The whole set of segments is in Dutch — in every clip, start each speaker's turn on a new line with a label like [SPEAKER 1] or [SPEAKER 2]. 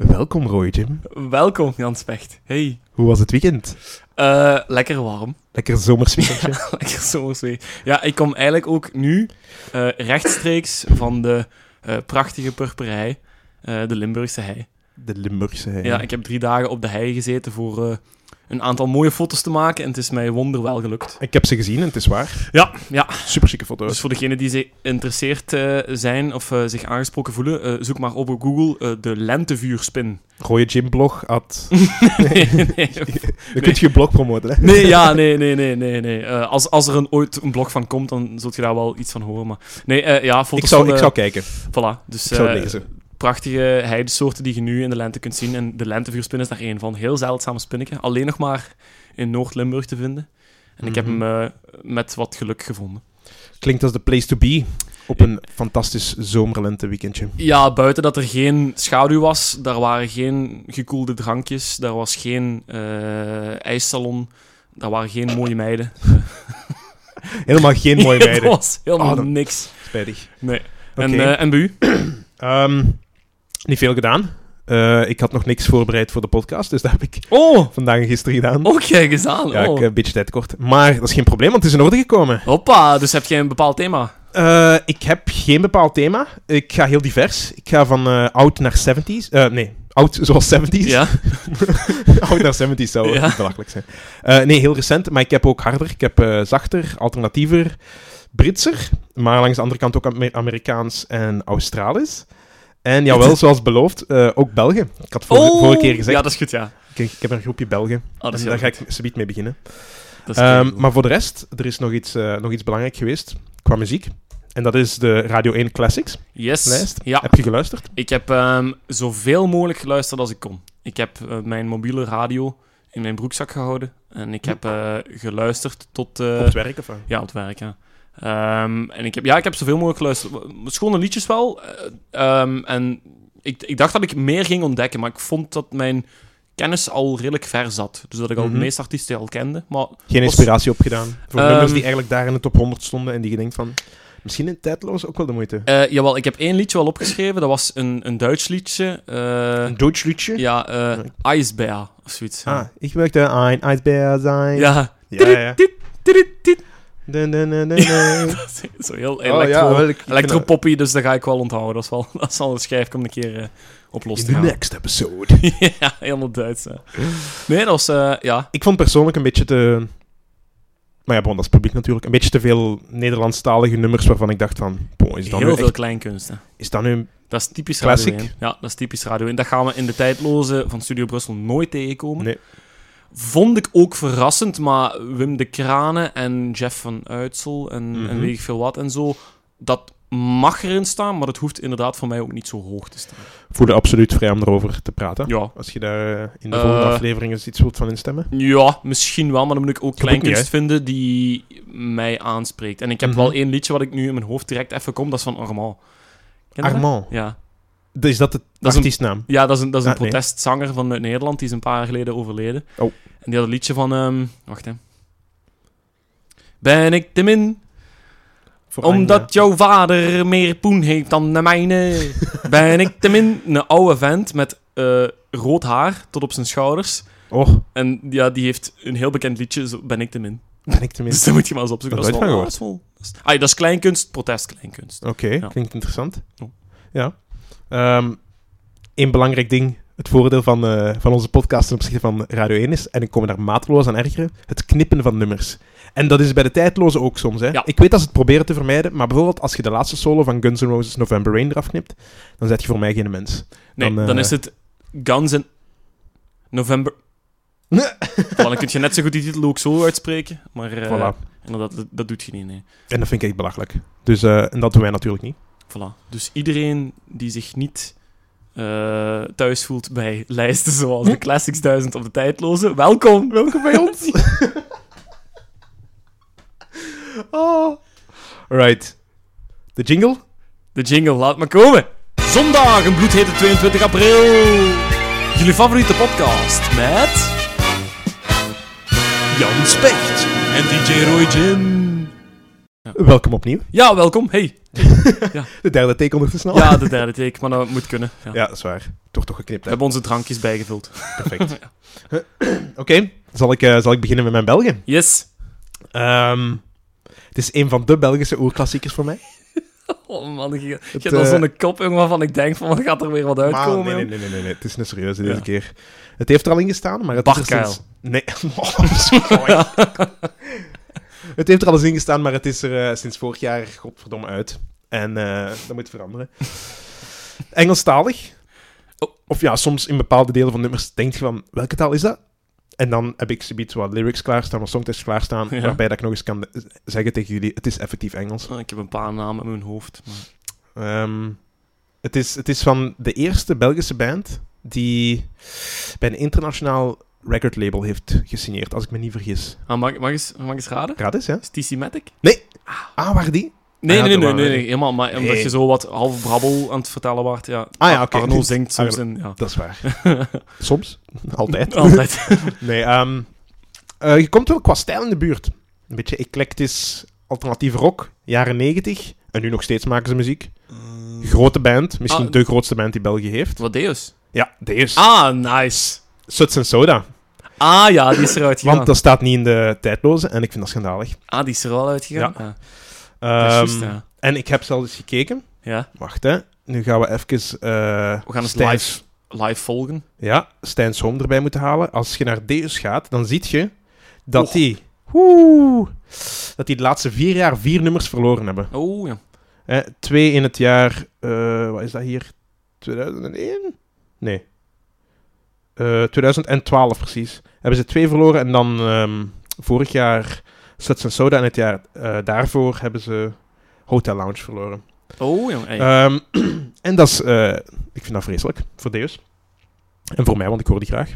[SPEAKER 1] Welkom Roy Jim.
[SPEAKER 2] Welkom, Jan Specht. Hey.
[SPEAKER 1] Hoe was het weekend?
[SPEAKER 2] Eh, lekker warm.
[SPEAKER 1] Lekker zomersweekendje.
[SPEAKER 2] lekker zomerswee. Ja, ik kom eigenlijk ook nu eh, rechtstreeks van de eh, prachtige purperij, eh, de Limburgse hei.
[SPEAKER 1] De Limburgse hei.
[SPEAKER 2] Ja, ik heb drie dagen op de hei gezeten voor eh, een aantal mooie foto's te maken en het is mij wonderwel gelukt.
[SPEAKER 1] Ik heb ze gezien en het is waar.
[SPEAKER 2] Ja, ja.
[SPEAKER 1] Super chique foto's.
[SPEAKER 2] Dus voor degenen die zich geïnteresseerd eh, zijn of eh, zich aangesproken voelen, eh, zoek maar op op Google eh, de lentevuurspin.
[SPEAKER 1] Roy Jim blog at...
[SPEAKER 2] nee, nee.
[SPEAKER 1] Dan kun je je blog promoten, hè?
[SPEAKER 2] Nee, ja, nee, nee, nee, nee. nee. Eh, als, als er een, ooit een blog van komt, dan zult je daar wel iets van horen. Maar nee, eh, ja, foto's
[SPEAKER 1] Ik zou,
[SPEAKER 2] van
[SPEAKER 1] ik
[SPEAKER 2] de-
[SPEAKER 1] zou kijken.
[SPEAKER 2] Voilà. Dus
[SPEAKER 1] Ik zou
[SPEAKER 2] eh,
[SPEAKER 1] het lezen.
[SPEAKER 2] prachtige heidesoorten die je nu in de lente kunt zien. En de lentevuurspin is daar één van. Heel zeldzame spinnetje. Alleen nog maar in Noord-Limburg te vinden. En ik heb hem
[SPEAKER 1] Mhm.
[SPEAKER 2] eh, met wat geluk gevonden.
[SPEAKER 1] Klinkt als de place to be op een fantastisch zomerlente weekendje.
[SPEAKER 2] Ja, buiten dat er geen schaduw was, daar waren geen gekoelde drankjes, daar was geen eh, ijssalon, daar waren geen mooie meiden.
[SPEAKER 1] Helemaal geen mooie
[SPEAKER 2] Het
[SPEAKER 1] meiden.
[SPEAKER 2] was helemaal
[SPEAKER 1] Ah, dat-
[SPEAKER 2] niks.
[SPEAKER 1] Spijtig.
[SPEAKER 2] Nee.
[SPEAKER 1] Oké.
[SPEAKER 2] En, eh en bij u?
[SPEAKER 1] Ehm, niet veel gedaan. Eh, ik had nog niks voorbereid voor de podcast, dus dat heb ik
[SPEAKER 2] Oh,
[SPEAKER 1] vandaag en gisteren gedaan.
[SPEAKER 2] ook jij gezaan.
[SPEAKER 1] Ja, ik eh,
[SPEAKER 2] Oh.
[SPEAKER 1] heb een beetje tijd kort. Maar dat is geen probleem, want het is in orde gekomen.
[SPEAKER 2] Hoppa, dus heb je een bepaald thema?
[SPEAKER 1] Eh, ik heb geen bepaald thema. Ik ga heel divers. Ik ga van eh, oud naar 70s. Eh, nee, oud zoals 70s.
[SPEAKER 2] Ja.
[SPEAKER 1] oud naar 70s zou
[SPEAKER 2] Ja.
[SPEAKER 1] belachelijk zijn. Eh, nee, heel recent. Maar ik heb ook harder. Ik heb eh, zachter, alternatiever, Britser. Maar langs de andere kant ook Amer- Amerikaans en Australisch. En jawel, zoals beloofd, eh, ook Belgen. Ik had vorige,
[SPEAKER 2] Oh,
[SPEAKER 1] vorige keer gezegd,
[SPEAKER 2] Ja, dat is goed, ja.
[SPEAKER 1] ik, ik heb een groepje Belgen.
[SPEAKER 2] Ah, dat is
[SPEAKER 1] en
[SPEAKER 2] heel
[SPEAKER 1] daar ga ik
[SPEAKER 2] goed.
[SPEAKER 1] subiet mee beginnen.
[SPEAKER 2] Dat is
[SPEAKER 1] Ehm,
[SPEAKER 2] heel goed.
[SPEAKER 1] maar voor de rest, er is nog iets, eh, nog iets belangrijk geweest qua muziek. En dat is de Radio 1 Classics.
[SPEAKER 2] yes.
[SPEAKER 1] lijst?
[SPEAKER 2] Ja,
[SPEAKER 1] Heb je geluisterd?
[SPEAKER 2] ik heb ehm, zoveel mogelijk geluisterd als ik kon. Ik heb eh, mijn mobiele radio in mijn broekzak gehouden en ik heb eh, geluisterd tot... eh,
[SPEAKER 1] Op het werk of? wat?
[SPEAKER 2] Ja, op het werk, ja. Ehm, en ik heb, ja, ik heb zoveel mogelijk geluisterd. Schone liedjes wel. eh, ehm, en ik, ik dacht dat ik meer ging ontdekken, maar ik vond dat mijn kennis al redelijk ver zat. Dus dat ik al
[SPEAKER 1] Mhm.
[SPEAKER 2] de meeste artiesten al kende. Maar
[SPEAKER 1] Geen
[SPEAKER 2] Als-
[SPEAKER 1] inspiratie opgedaan. Voor
[SPEAKER 2] Ehm,
[SPEAKER 1] nummers die eigenlijk daar in de top 100 stonden en die je denkt van, misschien in tijdloos ook wel de moeite.
[SPEAKER 2] eh, jawel, ik heb één liedje wel opgeschreven. Dat was een, een Duits liedje. eh,
[SPEAKER 1] Een Deutsch liedje.
[SPEAKER 2] ja, eh
[SPEAKER 1] Nee.
[SPEAKER 2] Eisbär of zoiets. ja.
[SPEAKER 1] Ah, ik werkte een ijsbeer zijn.
[SPEAKER 2] Ja.
[SPEAKER 1] ja. ja.
[SPEAKER 2] Tiet, tiet, tiet.
[SPEAKER 1] Dun, dun, dun, dun, dun.
[SPEAKER 2] Dat is Zo heel
[SPEAKER 1] Oh,
[SPEAKER 2] electro,
[SPEAKER 1] ja, wel, ik- ik vind
[SPEAKER 2] electropoppy, dus dat ga ik wel onthouden. Dat is wel, dat is wel een schijf, ik om een keer eh, op
[SPEAKER 1] dat-
[SPEAKER 2] los
[SPEAKER 1] In
[SPEAKER 2] te
[SPEAKER 1] de
[SPEAKER 2] gaan.
[SPEAKER 1] next episode.
[SPEAKER 2] ja, helemaal Duits. hè. Nee, dat was... eh, ja.
[SPEAKER 1] Ik vond persoonlijk een beetje te... Maar ja, bon, dat is publiek natuurlijk. Een beetje te veel Nederlandstalige nummers waarvan ik dacht van... Bon, is dat nu
[SPEAKER 2] Heel
[SPEAKER 1] echt-
[SPEAKER 2] veel kleinkunsten.
[SPEAKER 1] is dat nu
[SPEAKER 2] Dat is typisch
[SPEAKER 1] Classic.
[SPEAKER 2] radio. één. Ja, dat is typisch radio. En dat gaan we in de tijdloze van Studio Brussel nooit tegenkomen.
[SPEAKER 1] Nee.
[SPEAKER 2] Vond ik ook verrassend, maar Wim de Kranen en Jeff van Uitsel en, en
[SPEAKER 1] Mhm.
[SPEAKER 2] weet ik veel wat en zo, dat mag erin staan, maar dat hoeft inderdaad voor mij ook niet zo hoog te staan.
[SPEAKER 1] voelde absoluut vrij om erover te praten.
[SPEAKER 2] Ja,
[SPEAKER 1] Als je daar eh, in de
[SPEAKER 2] Eh,
[SPEAKER 1] volgende aflevering eens iets wilt van instemmen.
[SPEAKER 2] ja misschien wel, maar dan moet ik ook
[SPEAKER 1] heb ook niet,
[SPEAKER 2] kleinkunst
[SPEAKER 1] hè?
[SPEAKER 2] vinden die mij aanspreekt. En ik heb
[SPEAKER 1] Mhm.
[SPEAKER 2] wel één liedje wat ik nu in mijn hoofd direct even kom, dat is van Armand. Ken je dat?
[SPEAKER 1] Armand.
[SPEAKER 2] Ja.
[SPEAKER 1] Is dat de
[SPEAKER 2] Dat is een-
[SPEAKER 1] artiestnaam?
[SPEAKER 2] Ja, dat is een, dat is een
[SPEAKER 1] Ah, nee.
[SPEAKER 2] protestzanger van uit Nederland. Die is een paar jaar geleden overleden.
[SPEAKER 1] Oh.
[SPEAKER 2] En die had een liedje van... ehm, wacht, hè. Ben ik te min,
[SPEAKER 1] Voor Anja.
[SPEAKER 2] omdat jouw vader meer poen heeft dan de mijne. ben ik te min. Een oude vent met eh, rood haar tot op zijn schouders.
[SPEAKER 1] Oh,
[SPEAKER 2] En ja, die heeft een heel bekend liedje, zo, Ben ik te min.
[SPEAKER 1] ben ik tenminste...
[SPEAKER 2] Dus daar moet je maar eens opzoeken.
[SPEAKER 1] Dat
[SPEAKER 2] Dat, is
[SPEAKER 1] heb ik
[SPEAKER 2] wel... Dat is wel dat is- ah, dat is kleinkunst, protestkleinkunst.
[SPEAKER 1] Oké,
[SPEAKER 2] Ja.
[SPEAKER 1] klinkt interessant.
[SPEAKER 2] Oh.
[SPEAKER 1] Ja. Eén belangrijk ding. Het voordeel van, eh, van onze podcast ten opzichte van Radio 1 is, en ik kom daar mateloos aan ergeren, het knippen van nummers. En dat is bij de tijdloze ook soms. Hè?
[SPEAKER 2] Ja.
[SPEAKER 1] Ik weet dat ze het proberen te vermijden, maar bijvoorbeeld als je de laatste solo van Guns N' Roses November Rain eraf knipt, dan zet je voor mij geen mens.
[SPEAKER 2] Nee,
[SPEAKER 1] Dan,
[SPEAKER 2] dan,
[SPEAKER 1] eh,
[SPEAKER 2] is het Guns en November. Voilà, dan kun je net zo goed die titel ook zo uitspreken. Maar eh,
[SPEAKER 1] Voilà.
[SPEAKER 2] inderdaad, dat, dat doet je niet. Nee.
[SPEAKER 1] En dat vind ik echt belachelijk. Dus, eh, en dat doen wij natuurlijk niet.
[SPEAKER 2] Voilà. Dus iedereen die zich niet eh, thuis voelt bij lijsten zoals de Classics 1000 of de Tijdloze, welkom.
[SPEAKER 1] Welkom bij ons. oh. Alright. De jingle?
[SPEAKER 2] De jingle, laat maar komen. Zondag, een bloedhete 22 april. Jullie favoriete podcast met... Jan Specht en DJ Roy Jim.
[SPEAKER 1] Welkom opnieuw.
[SPEAKER 2] Ja, welkom. Hey.
[SPEAKER 1] De derde take ondertussen al.
[SPEAKER 2] Ja, de derde take, maar dat moet kunnen. Ja.
[SPEAKER 1] Ja, dat is waar. Toch toch geknipt, hè?
[SPEAKER 2] We hebben onze drankjes bijgevuld.
[SPEAKER 1] Perfect. Oké, zal, ik, eh, zal ik beginnen met mijn Belgen.
[SPEAKER 2] Yes.
[SPEAKER 1] Ehm, het is een van de Belgische oerklassiekers voor mij.
[SPEAKER 2] Oh man, je, je hebt
[SPEAKER 1] eh,
[SPEAKER 2] al zo'n kop jongen, waarvan ik denk van, wat gaat er weer wat
[SPEAKER 1] Maar
[SPEAKER 2] uitkomen?
[SPEAKER 1] nee, nee,
[SPEAKER 2] jong?
[SPEAKER 1] nee, nee, nee, nee, het is een serieuze deze
[SPEAKER 2] Ja.
[SPEAKER 1] keer. Het heeft er al in gestaan, maar het is er
[SPEAKER 2] Barkuil.
[SPEAKER 1] sinds... Nee, Oh, sorry. Het heeft er al eens in gestaan, maar het is er eh, sinds vorig jaar godverdomme uit. En eh, dat moet veranderen. Engelstalig.
[SPEAKER 2] Oh.
[SPEAKER 1] Of ja, soms in bepaalde delen van nummers denk je van, welke taal is dat? En dan heb ik zoiets wat lyrics klaarstaan, wat songtekst klaarstaan,
[SPEAKER 2] Ja.
[SPEAKER 1] waarbij dat ik nog eens kan eh, zeggen tegen jullie, het is effectief Engels.
[SPEAKER 2] Ah, Ik heb een paar namen in mijn hoofd. Maar...
[SPEAKER 1] Ehm, het, is, het is van de eerste Belgische band die bij een internationaal recordlabel heeft gesigneerd, als ik me niet vergis.
[SPEAKER 2] Ah, mag, mag, eens, mag eens raden?
[SPEAKER 1] Raad eens, hè?
[SPEAKER 2] Is TC Matic?
[SPEAKER 1] Ah, waar die?
[SPEAKER 2] Nee,
[SPEAKER 1] ja,
[SPEAKER 2] nee, nee,
[SPEAKER 1] doe
[SPEAKER 2] nee,
[SPEAKER 1] maar,
[SPEAKER 2] nee,
[SPEAKER 1] nee.
[SPEAKER 2] nee, helemaal. Maar omdat
[SPEAKER 1] Nee.
[SPEAKER 2] je zo wat half brabbel aan het vertellen waart. Ja.
[SPEAKER 1] Ah ja, oké.
[SPEAKER 2] Arno zingt soms
[SPEAKER 1] Arno.
[SPEAKER 2] in... Ja.
[SPEAKER 1] Dat is waar. Soms. Altijd.
[SPEAKER 2] Oh. Altijd.
[SPEAKER 1] Nee, ehm, eh, je komt wel qua stijl in de buurt. Een beetje eclectisch, alternatieve rock, jaren 90. En nu nog steeds maken ze muziek. Grote band, misschien
[SPEAKER 2] Ah.
[SPEAKER 1] de grootste band die België heeft.
[SPEAKER 2] Wat Deus?
[SPEAKER 1] Ja, Deus.
[SPEAKER 2] Ah, nice.
[SPEAKER 1] Suts and Soda.
[SPEAKER 2] Ah ja, die is eruit gegaan.
[SPEAKER 1] Want dat staat niet in de tijdloze en ik vind dat schandalig.
[SPEAKER 2] Ah, die is er al uitgegaan? Ja. Ah, dat is
[SPEAKER 1] Ehm,
[SPEAKER 2] juist, ja.
[SPEAKER 1] En ik heb zelfs eens gekeken.
[SPEAKER 2] ja.
[SPEAKER 1] Wacht, hè. Nu gaan we even... eh,
[SPEAKER 2] We gaan eens
[SPEAKER 1] Stijn-
[SPEAKER 2] live, live volgen.
[SPEAKER 1] Ja, Stijn Sohm erbij moeten halen. Als je naar Deus gaat, dan zie je dat
[SPEAKER 2] Och.
[SPEAKER 1] die... Woe, dat die de laatste vier jaar vier nummers verloren hebben.
[SPEAKER 2] Oh ja.
[SPEAKER 1] Hè, twee in het jaar... eh, wat is dat hier? 2001? Nee. Eh, 2012 precies. Hebben ze twee verloren en dan ehm, vorig jaar Suts and Soda en het jaar eh, daarvoor hebben ze Hotel Lounge verloren.
[SPEAKER 2] Oh ja. Hey.
[SPEAKER 1] Ehm, en dat is, eh, ik vind dat vreselijk voor Deus. En voor mij, want ik hoor die graag.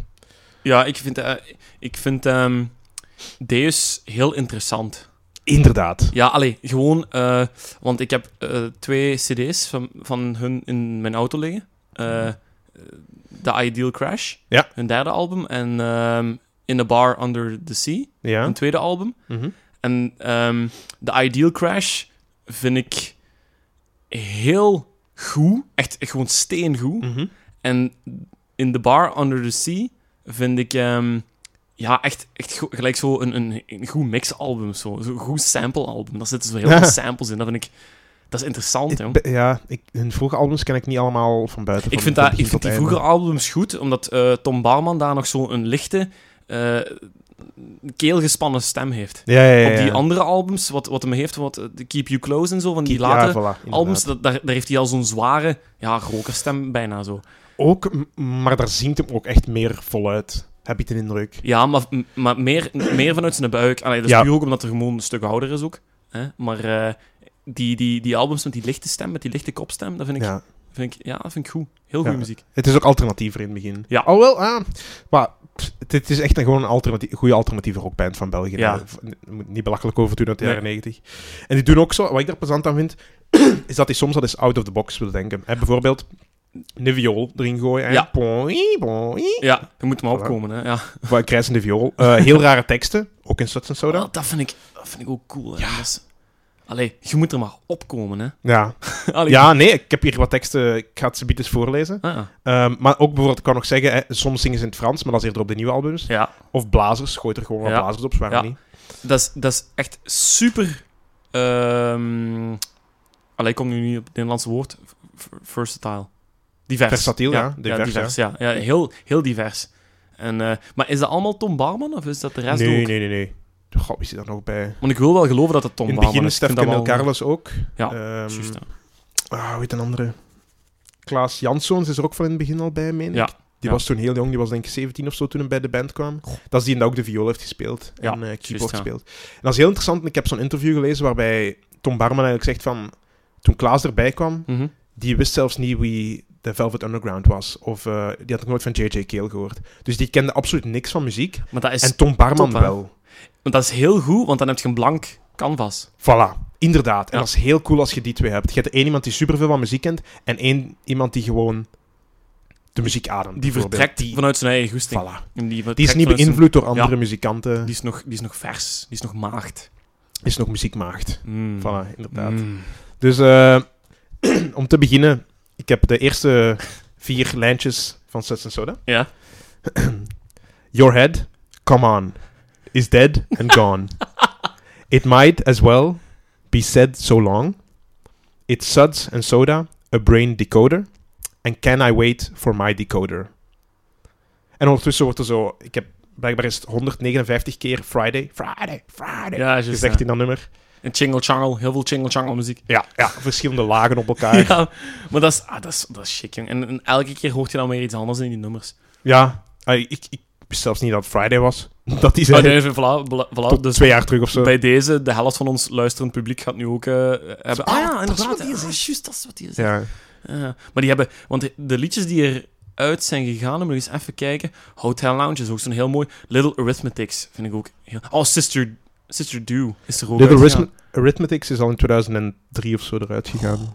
[SPEAKER 2] ja, ik vind, eh, ik vind ehm, Deus heel interessant.
[SPEAKER 1] Inderdaad.
[SPEAKER 2] Ja, allee, gewoon, eh, want ik heb eh, twee CD's van, van hun in mijn auto liggen: Eh, The Ideal Crash,
[SPEAKER 1] Ja.
[SPEAKER 2] hun derde album, en ehm, In the Bar Under the Sea,
[SPEAKER 1] Ja.
[SPEAKER 2] hun tweede album.
[SPEAKER 1] Mhm.
[SPEAKER 2] En ehm The Ideal Crash vind ik heel goed. Echt gewoon steengoed.
[SPEAKER 1] Mhm.
[SPEAKER 2] En In The Bar Under the Sea vind ik... ehm, ja, echt, echt go- gelijk zo een, een, een goed mixalbum. Zo. Zo een goed samplealbum. Daar zitten zo heel veel samples in. Dat vind ik... Dat is interessant,
[SPEAKER 1] Ik
[SPEAKER 2] jong.
[SPEAKER 1] ben- ja, ik, hun vroege albums ken ik niet allemaal van buiten.
[SPEAKER 2] Ik
[SPEAKER 1] van-
[SPEAKER 2] vind,
[SPEAKER 1] van
[SPEAKER 2] dat,
[SPEAKER 1] begin
[SPEAKER 2] ik
[SPEAKER 1] tot
[SPEAKER 2] vind die
[SPEAKER 1] einde.
[SPEAKER 2] vroeger albums goed, omdat eh, Tom Barman daar nog zo'n lichte, eh, keelgespannen stem heeft.
[SPEAKER 1] Ja, ja, ja.
[SPEAKER 2] op
[SPEAKER 1] ja.
[SPEAKER 2] die andere albums, wat, wat hem heeft, wat, eh, de Keep You Close en zo, van die
[SPEAKER 1] Ja,
[SPEAKER 2] latere
[SPEAKER 1] voilà, inderdaad.
[SPEAKER 2] albums, dat, daar, daar heeft hij al zo'n zware ja, rokerstem bijna zo.
[SPEAKER 1] Ook, m- maar daar zingt hem ook echt meer voluit. Heb ik de indruk.
[SPEAKER 2] Ja, maar, m- maar meer, meer vanuit zijn buik. Allee, dat is
[SPEAKER 1] Ja.
[SPEAKER 2] puur ook omdat er gewoon een stuk ouder is ook. Hè? Maar eh, die, die, die albums met die lichte stem, met die lichte kopstem, dat vind ik,
[SPEAKER 1] Ja.
[SPEAKER 2] vind ik, ja, dat vind ik goed. Heel goede
[SPEAKER 1] Ja.
[SPEAKER 2] muziek.
[SPEAKER 1] Het is ook alternatiever in het begin.
[SPEAKER 2] Ja.
[SPEAKER 1] Alhoewel, ah, maar pff, dit is echt een, gewoon een alternatief, goede alternatieve rockband van België.
[SPEAKER 2] Ja.
[SPEAKER 1] Daar moet Niet belachelijk over doen uit de
[SPEAKER 2] Nee.
[SPEAKER 1] jaren 90. En die doen ook zo, wat ik daar plezant aan vind, is dat die soms al eens out of the box wil denken. Hè, bijvoorbeeld een viool erin gooien. hè.
[SPEAKER 2] Ja.
[SPEAKER 1] Poing, poing.
[SPEAKER 2] Ja, je moet maar
[SPEAKER 1] Voilà.
[SPEAKER 2] opkomen. Hè? Ja.
[SPEAKER 1] Of een krijsende viool. Eh, heel rare teksten, ook in Suts and Soda.
[SPEAKER 2] Oh, dat, vind ik, dat vind ik ook cool. Hè? Dat is- Allee, je moet er maar opkomen. Hè?
[SPEAKER 1] Ja.
[SPEAKER 2] Allee.
[SPEAKER 1] ja, nee, ik heb hier wat teksten, ik ga het ze eens voorlezen.
[SPEAKER 2] Ah,
[SPEAKER 1] Ehm, maar ook bijvoorbeeld, ik kan nog zeggen, hè, soms zingen ze in het Frans, maar dat is eerder op de nieuwe albums.
[SPEAKER 2] ja.
[SPEAKER 1] Of blazers, gooit er gewoon wat
[SPEAKER 2] Ja.
[SPEAKER 1] blazers op, waarom
[SPEAKER 2] Ja.
[SPEAKER 1] niet?
[SPEAKER 2] Dat is, dat is echt super. ehm allee, ik kom nu niet op het Nederlandse woord. V- v- Versatile. Divers.
[SPEAKER 1] Versatiel, ja.
[SPEAKER 2] Ja,
[SPEAKER 1] Divers,
[SPEAKER 2] divers, ja. ja. heel, heel divers. En, eh, maar is dat allemaal Tom Barman of is dat de rest
[SPEAKER 1] nee,
[SPEAKER 2] ook?
[SPEAKER 1] nee, nee, nee. God, wie zit daar nog bij?
[SPEAKER 2] Want ik wil wel geloven dat het Tom
[SPEAKER 1] In het
[SPEAKER 2] Barman
[SPEAKER 1] begin
[SPEAKER 2] is. Ik vind
[SPEAKER 1] Stefan El
[SPEAKER 2] dat wel-
[SPEAKER 1] Carlos ook.
[SPEAKER 2] Ja,
[SPEAKER 1] Ehm,
[SPEAKER 2] Juist, ja.
[SPEAKER 1] ah, hoe heet een andere? Klaas Janszoons is er ook van in het begin al bij, meen ik.
[SPEAKER 2] Ja,
[SPEAKER 1] Die
[SPEAKER 2] ja.
[SPEAKER 1] was toen heel jong, die was denk ik 17 of zo toen hij bij de band kwam. Dat is die die ook de viool heeft gespeeld en
[SPEAKER 2] Ja,
[SPEAKER 1] eh, keyboard
[SPEAKER 2] juist, ja.
[SPEAKER 1] gespeeld. En dat is heel interessant, en ik heb zo'n interview gelezen waarbij Tom Barman eigenlijk zegt van... Toen Klaas erbij kwam,
[SPEAKER 2] Mhm.
[SPEAKER 1] die wist zelfs niet wie de Velvet Underground was. Of eh, die had nog nooit van J.J. Cale gehoord. Dus die kende absoluut niks van muziek.
[SPEAKER 2] Maar dat is,
[SPEAKER 1] en Tom Barman
[SPEAKER 2] top, hè?
[SPEAKER 1] wel.
[SPEAKER 2] want dat is heel goed, want dan heb je een blank canvas.
[SPEAKER 1] Voilà, inderdaad. En
[SPEAKER 2] Ja.
[SPEAKER 1] dat is heel cool als je die twee hebt. Je hebt één iemand die superveel van muziek kent en één iemand die gewoon de muziek ademt.
[SPEAKER 2] Die
[SPEAKER 1] bijvoorbeeld.
[SPEAKER 2] vertrekt
[SPEAKER 1] Die,
[SPEAKER 2] vanuit zijn eigen goesting.
[SPEAKER 1] voilà.
[SPEAKER 2] En Die,
[SPEAKER 1] die is
[SPEAKER 2] vertrekt
[SPEAKER 1] niet
[SPEAKER 2] vanuit zijn-
[SPEAKER 1] beïnvloed door andere muzikanten.
[SPEAKER 2] Die is, nog, die is nog vers. Die is nog maagd.
[SPEAKER 1] is nog muziek maakt.
[SPEAKER 2] Mm.
[SPEAKER 1] Voilà, inderdaad.
[SPEAKER 2] Mm.
[SPEAKER 1] Dus eh, om te beginnen, ik heb de eerste vier lijntjes van Sets and Soda.
[SPEAKER 2] Ja.
[SPEAKER 1] Your head, come on, is dead and gone. it might as well be said so long. It's suds and soda, a brain decoder. And can I wait for my decoder? En ondertussen wordt er zo, ik heb blijkbaar eens 159 keer Friday, Friday, Friday
[SPEAKER 2] Ja, dus, juist,
[SPEAKER 1] gezegd
[SPEAKER 2] ja.
[SPEAKER 1] in dat nummer.
[SPEAKER 2] En Chingle Changle, heel veel Chingle Changle muziek.
[SPEAKER 1] Ja, ja, verschillende lagen op elkaar. ja.
[SPEAKER 2] Ja, maar dat is, ah, dat is, dat is chic, jong. En, en elke keer hoort je dan weer iets anders in die nummers.
[SPEAKER 1] Ah, ik, ik wist zelfs niet dat het Friday was. Dat is
[SPEAKER 2] Oh,
[SPEAKER 1] eigenlijk
[SPEAKER 2] nee, voilà, bla- voilà,
[SPEAKER 1] tot
[SPEAKER 2] dus
[SPEAKER 1] twee jaar terug of zo.
[SPEAKER 2] bij deze, de helft van ons luisterend publiek gaat nu ook eh, hebben... Ah, ja,
[SPEAKER 1] dat is
[SPEAKER 2] inderdaad.
[SPEAKER 1] wat
[SPEAKER 2] hè.
[SPEAKER 1] die
[SPEAKER 2] Ah,
[SPEAKER 1] zegt.
[SPEAKER 2] juist, dat is wat die zegt.
[SPEAKER 1] Ja.
[SPEAKER 2] Ja, maar die hebben... Want de liedjes die eruit zijn gegaan, moet ik eens even kijken. Hotel Lounge is ook zo'n heel mooi... Little Arithmetics vind ik ook heel... Oh, Sister, Sister Do is er ook
[SPEAKER 1] Little
[SPEAKER 2] uitgegaan.
[SPEAKER 1] Rhythm- Arithmetics is al in 2003 of zo eruit
[SPEAKER 2] Oh.
[SPEAKER 1] gegaan.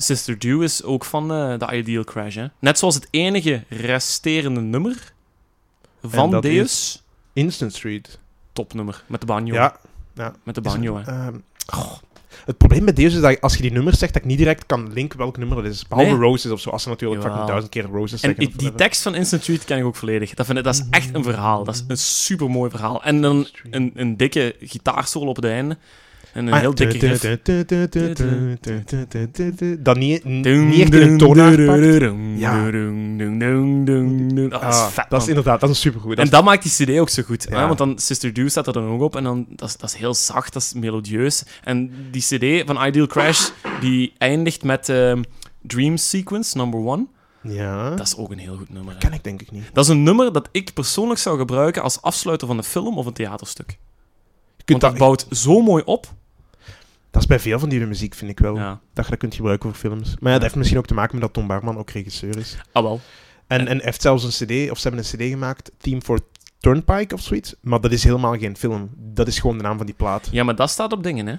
[SPEAKER 2] Sister Do is ook van eh de Ideal Crash, hè. Net zoals het enige resterende nummer
[SPEAKER 1] En
[SPEAKER 2] van
[SPEAKER 1] dat
[SPEAKER 2] Deus.
[SPEAKER 1] Instant Street.
[SPEAKER 2] Topnummer. Met de banjo.
[SPEAKER 1] Ja.
[SPEAKER 2] Met de
[SPEAKER 1] is
[SPEAKER 2] banjo, hè.
[SPEAKER 1] het, ehm, goh. Het probleem met deze is dat als je die nummers zegt, dat ik niet direct kan linken welk nummer dat is. Behalve
[SPEAKER 2] Nee.
[SPEAKER 1] Roses of zo, als ze natuurlijk
[SPEAKER 2] Jawel.
[SPEAKER 1] fucking duizend keer Roses
[SPEAKER 2] En
[SPEAKER 1] zeggen.
[SPEAKER 2] ik- die tekst van Instant Tweet ken ik ook volledig. Dat, vind ik, dat is echt een verhaal. Dat is een supermooi verhaal. En dan een, een dikke gitaarsolo op het einde. En
[SPEAKER 1] Ah,
[SPEAKER 2] een heel dikke riff.
[SPEAKER 1] riff. Dat niet,
[SPEAKER 2] Doen,
[SPEAKER 1] niet echt in een
[SPEAKER 2] doen,
[SPEAKER 1] toonaard
[SPEAKER 2] doen,
[SPEAKER 1] pakt.
[SPEAKER 2] doen,
[SPEAKER 1] Ja.
[SPEAKER 2] doen, doen, doen, doen, doen. Oh, Dat is
[SPEAKER 1] Ah,
[SPEAKER 2] vet,
[SPEAKER 1] dat is
[SPEAKER 2] man.
[SPEAKER 1] inderdaad, dat is supergoed. Dat
[SPEAKER 2] En
[SPEAKER 1] is-
[SPEAKER 2] dat maakt die CD ook zo goed.
[SPEAKER 1] Ja.
[SPEAKER 2] Hè? Want dan Sister Do staat er dan ook op. En dan, dat, is, dat is heel zacht, dat is melodieus. En die CD van Ideal Crash, die eindigt met ehm, Dream Sequence number one.
[SPEAKER 1] Ja,
[SPEAKER 2] Dat is ook een heel goed nummer. hè.
[SPEAKER 1] ken ik denk ik niet.
[SPEAKER 2] Dat is een nummer dat ik persoonlijk zou gebruiken als afsluiter van een film of een theaterstuk.
[SPEAKER 1] Je kunt
[SPEAKER 2] Want dat
[SPEAKER 1] dat,
[SPEAKER 2] bouwt zo mooi op.
[SPEAKER 1] dat is bij veel van die muziek, vind ik wel.
[SPEAKER 2] Ja.
[SPEAKER 1] Dat je dat kunt gebruiken voor films. Maar ja, dat heeft misschien ook te maken met dat Tom Barman ook regisseur is.
[SPEAKER 2] Ah wel.
[SPEAKER 1] En, en heeft zelfs een CD, of ze hebben een CD gemaakt, Team for Turnpike of zoiets. Maar dat is helemaal geen film. Dat is gewoon de naam van die plaat.
[SPEAKER 2] Ja, maar dat staat op dingen, hè.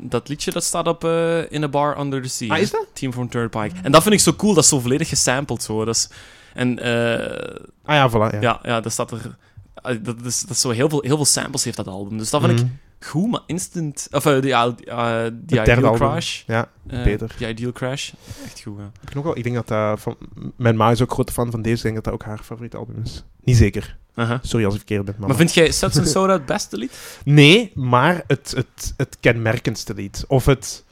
[SPEAKER 2] Dat liedje dat staat op eh, In a Bar Under the Sea.
[SPEAKER 1] Ah,
[SPEAKER 2] hè.
[SPEAKER 1] is dat?
[SPEAKER 2] Team from Third Pike. En dat vind ik zo cool, dat is zo volledig gesampled zo. Dat is, en eh,
[SPEAKER 1] Ah ja, voilà. Ja,
[SPEAKER 2] ja, ja, dat staat er. eh, Dat is, dat is zo heel veel, heel veel samples heeft dat album. Dus dat vind
[SPEAKER 1] Mhm.
[SPEAKER 2] ik goed, maar instant. Of eh, die, eh, die
[SPEAKER 1] Het
[SPEAKER 2] Ideal
[SPEAKER 1] derde album.
[SPEAKER 2] Crash.
[SPEAKER 1] Ja,
[SPEAKER 2] eh,
[SPEAKER 1] beter.
[SPEAKER 2] Die Ideal Crash. Echt goed, ja.
[SPEAKER 1] Ik, nog wel, ik denk dat dat... Van, mijn ma is ook grote fan van deze. Ik denk dat dat ook haar favoriete album is. Niet zeker.
[SPEAKER 2] Aha.
[SPEAKER 1] Sorry als ik verkeerd ben, mama.
[SPEAKER 2] Uh-huh. Maar vind jij Sets and Soda het beste lied?
[SPEAKER 1] Nee, maar het, het, het kenmerkendste lied. Of het...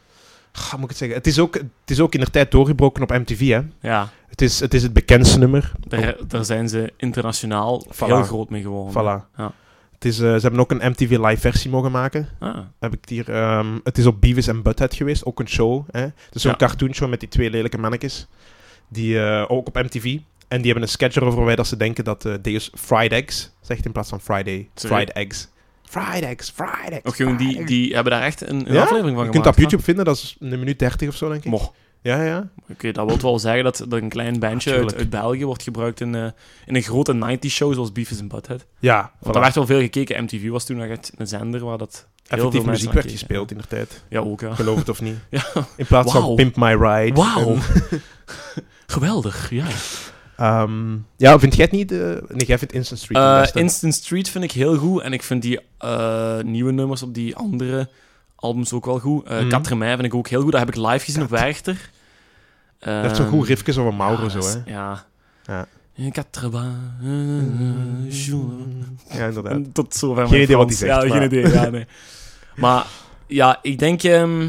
[SPEAKER 1] Ah, moet ik het zeggen? Het is ook, het is ook in de tijd doorgebroken op MTV, hè.
[SPEAKER 2] Ja,
[SPEAKER 1] Het is het, is het bekendste nummer.
[SPEAKER 2] daar, daar zijn ze internationaal
[SPEAKER 1] Voilà.
[SPEAKER 2] heel groot mee geworden.
[SPEAKER 1] Voilà.
[SPEAKER 2] Oh, Ja.
[SPEAKER 1] Het is, eh, ze hebben ook een MTV live versie mogen maken.
[SPEAKER 2] Ah.
[SPEAKER 1] heb ik het hier. ehm, het is op Beavis en Butthead geweest, ook een show. Hè? Dus zo'n
[SPEAKER 2] Ja.
[SPEAKER 1] cartoonshow met die twee lelijke mannetjes. Die eh, ook op MTV. En die hebben een sketch erover waarbij dat ze denken dat eh Deus fried eggs zegt in plaats van Friday.
[SPEAKER 2] Sorry?
[SPEAKER 1] Fried eggs. Fried eggs, fried eggs.
[SPEAKER 2] Of gewoon, die,
[SPEAKER 1] fried
[SPEAKER 2] die hebben daar echt een, een
[SPEAKER 1] Ja? eggs.
[SPEAKER 2] aflevering van
[SPEAKER 1] Je
[SPEAKER 2] gemaakt.
[SPEAKER 1] kunt dat op YouTube vinden, dat is een minuut 30 of zo, denk ik.
[SPEAKER 2] Mocht.
[SPEAKER 1] Ja, ja.
[SPEAKER 2] Oké, dat wil wel zeggen dat, dat een klein bandje uit,
[SPEAKER 1] tuurlijk.
[SPEAKER 2] uit België wordt gebruikt in, eh, in een grote 90 show zoals Beavis and Butthead.
[SPEAKER 1] Ja,
[SPEAKER 2] Want
[SPEAKER 1] voilà.
[SPEAKER 2] daar werd wel veel gekeken. MTV was toen nog echt een zender waar dat heel
[SPEAKER 1] Effectief
[SPEAKER 2] veel
[SPEAKER 1] muziek
[SPEAKER 2] mensen
[SPEAKER 1] werd
[SPEAKER 2] naar keken.
[SPEAKER 1] gespeeld in de tijd.
[SPEAKER 2] Ja, ook ja.
[SPEAKER 1] Geloof het of niet.
[SPEAKER 2] ja.
[SPEAKER 1] In plaats
[SPEAKER 2] Wauw.
[SPEAKER 1] van Pimp My Ride.
[SPEAKER 2] Wauw.
[SPEAKER 1] en,
[SPEAKER 2] Geweldig, ja.
[SPEAKER 1] ehm, ja, vind jij het niet? eh, nee, jij vindt Instant Street de
[SPEAKER 2] Eh,
[SPEAKER 1] beste.
[SPEAKER 2] Instant Street vind ik heel goed. En ik vind die eh, nieuwe nummers op die andere albums ook wel goed. Eh
[SPEAKER 1] Mhm.
[SPEAKER 2] Quatre Mei vind ik ook heel goed. Dat heb ik live gezien op Werchter.
[SPEAKER 1] Dat heeft zo'n
[SPEAKER 2] Ehm,
[SPEAKER 1] goed riffjes over Mauro,
[SPEAKER 2] ja,
[SPEAKER 1] zo,
[SPEAKER 2] dat is-
[SPEAKER 1] hè.
[SPEAKER 2] Ja. Eh,
[SPEAKER 1] Ja.
[SPEAKER 2] Quatre Mei, eh, jour.
[SPEAKER 1] Ja, inderdaad.
[SPEAKER 2] En Tot zover mijn
[SPEAKER 1] Geen idee wat
[SPEAKER 2] Frans.
[SPEAKER 1] die zegt,
[SPEAKER 2] Ja,
[SPEAKER 1] maar-
[SPEAKER 2] geen idee. Ja, nee. maar ja, ik denk... ehm,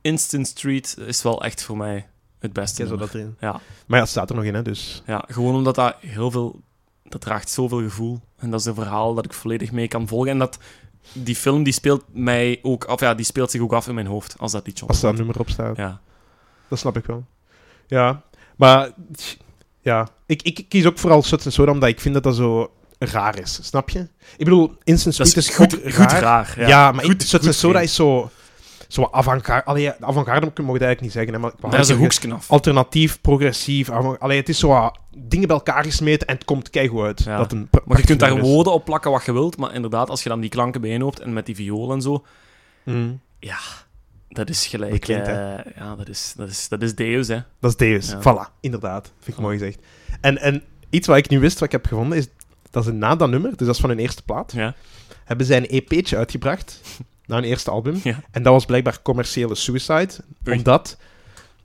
[SPEAKER 2] Instant Street is wel echt voor mij het beste
[SPEAKER 1] Ja, zo
[SPEAKER 2] nummer.
[SPEAKER 1] dat erin.
[SPEAKER 2] Ja.
[SPEAKER 1] Maar ja, het staat er nog in, hè, dus...
[SPEAKER 2] Ja, gewoon omdat dat heel veel... Dat draagt zoveel gevoel. En dat is een verhaal dat ik volledig mee kan volgen. En dat die film, die speelt mij ook af... Ja, die speelt zich ook af in mijn hoofd, als dat liedje
[SPEAKER 1] Als daar
[SPEAKER 2] opkomt.
[SPEAKER 1] een nummer op staat.
[SPEAKER 2] Ja.
[SPEAKER 1] Dat snap ik wel. Ja. Maar... tch, Ja. Ik, ik kies ook vooral Suts en Soda, omdat ik vind dat dat zo raar is. Snap je? Ik bedoel, Instant
[SPEAKER 2] Dat
[SPEAKER 1] Sweet
[SPEAKER 2] is
[SPEAKER 1] Dus is
[SPEAKER 2] goed,
[SPEAKER 1] ook
[SPEAKER 2] goed
[SPEAKER 1] raar.
[SPEAKER 2] raar.
[SPEAKER 1] Ja. maar ik, Suts en Soda is zo... Zo wat avant-garde... Allee, ja, avant-garde mogen we het eigenlijk niet zeggen, hè, maar... ik wou
[SPEAKER 2] Daar is een
[SPEAKER 1] zeggen,
[SPEAKER 2] hoeksknaf.
[SPEAKER 1] Alternatief, progressief... avant- Allee, het is zo wat dingen bij elkaar gesmeten en het komt keigoed uit.
[SPEAKER 2] Ja.
[SPEAKER 1] Dat een
[SPEAKER 2] Maar je
[SPEAKER 1] prachtig
[SPEAKER 2] kunt daar
[SPEAKER 1] nummer is.
[SPEAKER 2] woorden op plakken wat je wilt. Maar inderdaad, als je dan die klanken bijeenhoopt en met die viool en zo...
[SPEAKER 1] Mm.
[SPEAKER 2] Dat is gelijk.
[SPEAKER 1] Bekend, hè?
[SPEAKER 2] eh, ja, dat is, dat, is, dat is Deus, hè?
[SPEAKER 1] Dat is Deus.
[SPEAKER 2] Ja.
[SPEAKER 1] Voilà, inderdaad. Vind ik mooi gezegd. En, en iets wat ik nu wist, wat ik heb gevonden, is dat is na dat nummer, dus dat is van hun eerste plaat,
[SPEAKER 2] Ja.
[SPEAKER 1] hebben zij een EP'tje uitgebracht, na hun eerste album.
[SPEAKER 2] Ja.
[SPEAKER 1] En dat was blijkbaar commerciële suicide,
[SPEAKER 2] Oei.
[SPEAKER 1] omdat...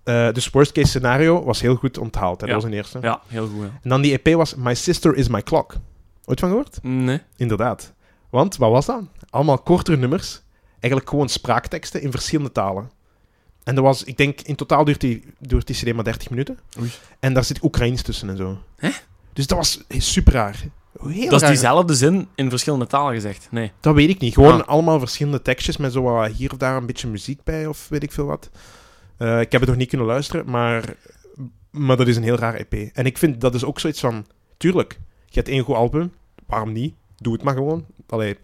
[SPEAKER 1] eh, dus worst case scenario was heel goed onthaald. Hè?
[SPEAKER 2] Ja.
[SPEAKER 1] Dat was hun eerste.
[SPEAKER 2] ja, heel goed. ja.
[SPEAKER 1] En dan die EP was My Sister Is My Clock. Ooit van gehoord?
[SPEAKER 2] Nee.
[SPEAKER 1] Inderdaad. Want, wat was dat? Allemaal kortere nummers. Eigenlijk gewoon spraakteksten in verschillende talen. En dat was, ik denk, in totaal duurt die, duurt die CD maar 30 minuten.
[SPEAKER 2] Oei.
[SPEAKER 1] En daar zit Oekraïens tussen en zo. Dus dat was super raar. Heel
[SPEAKER 2] Dat is
[SPEAKER 1] raar.
[SPEAKER 2] diezelfde zin in verschillende talen gezegd. Nee.
[SPEAKER 1] Dat weet ik niet. Gewoon
[SPEAKER 2] Ah.
[SPEAKER 1] allemaal verschillende tekstjes met zo wat hier of daar een beetje muziek bij of weet ik veel wat. Eh, ik heb het nog niet kunnen luisteren, maar, maar dat is een heel raar EP. En ik vind dat is ook zoiets van: tuurlijk, je hebt één goed album, waarom niet? Doe het maar gewoon. Allee,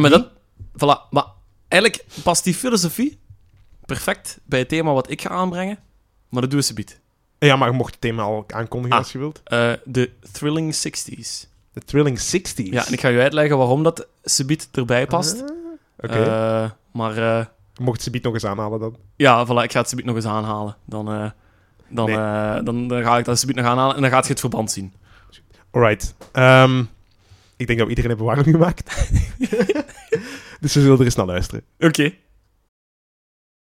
[SPEAKER 1] Hm?
[SPEAKER 2] maar dat... Voilà. Maar eigenlijk past die filosofie perfect bij het thema wat ik ga aanbrengen. Maar dat doen we subiet.
[SPEAKER 1] ja, maar je mocht het thema al aankondigen
[SPEAKER 2] Ah.
[SPEAKER 1] als je wilt.
[SPEAKER 2] Eh, de Thrilling 60s.
[SPEAKER 1] The Thrilling 60s.
[SPEAKER 2] Ja, en ik ga je uitleggen waarom dat subiet erbij past.
[SPEAKER 1] Ah, Oké,
[SPEAKER 2] Eh, maar eh,
[SPEAKER 1] je mocht ze beat nog eens aanhalen dan.
[SPEAKER 2] ja, voilà, ik ga het subiet nog eens aanhalen. Dan, eh, dan,
[SPEAKER 1] Nee.
[SPEAKER 2] eh, dan, dan ga ik dat subiet nog aanhalen en dan gaat je het verband zien.
[SPEAKER 1] Alright. Ehm, ik denk dat we iedereen hebben warm gemaakt. dus we zullen er eens naar luisteren.
[SPEAKER 2] Oké.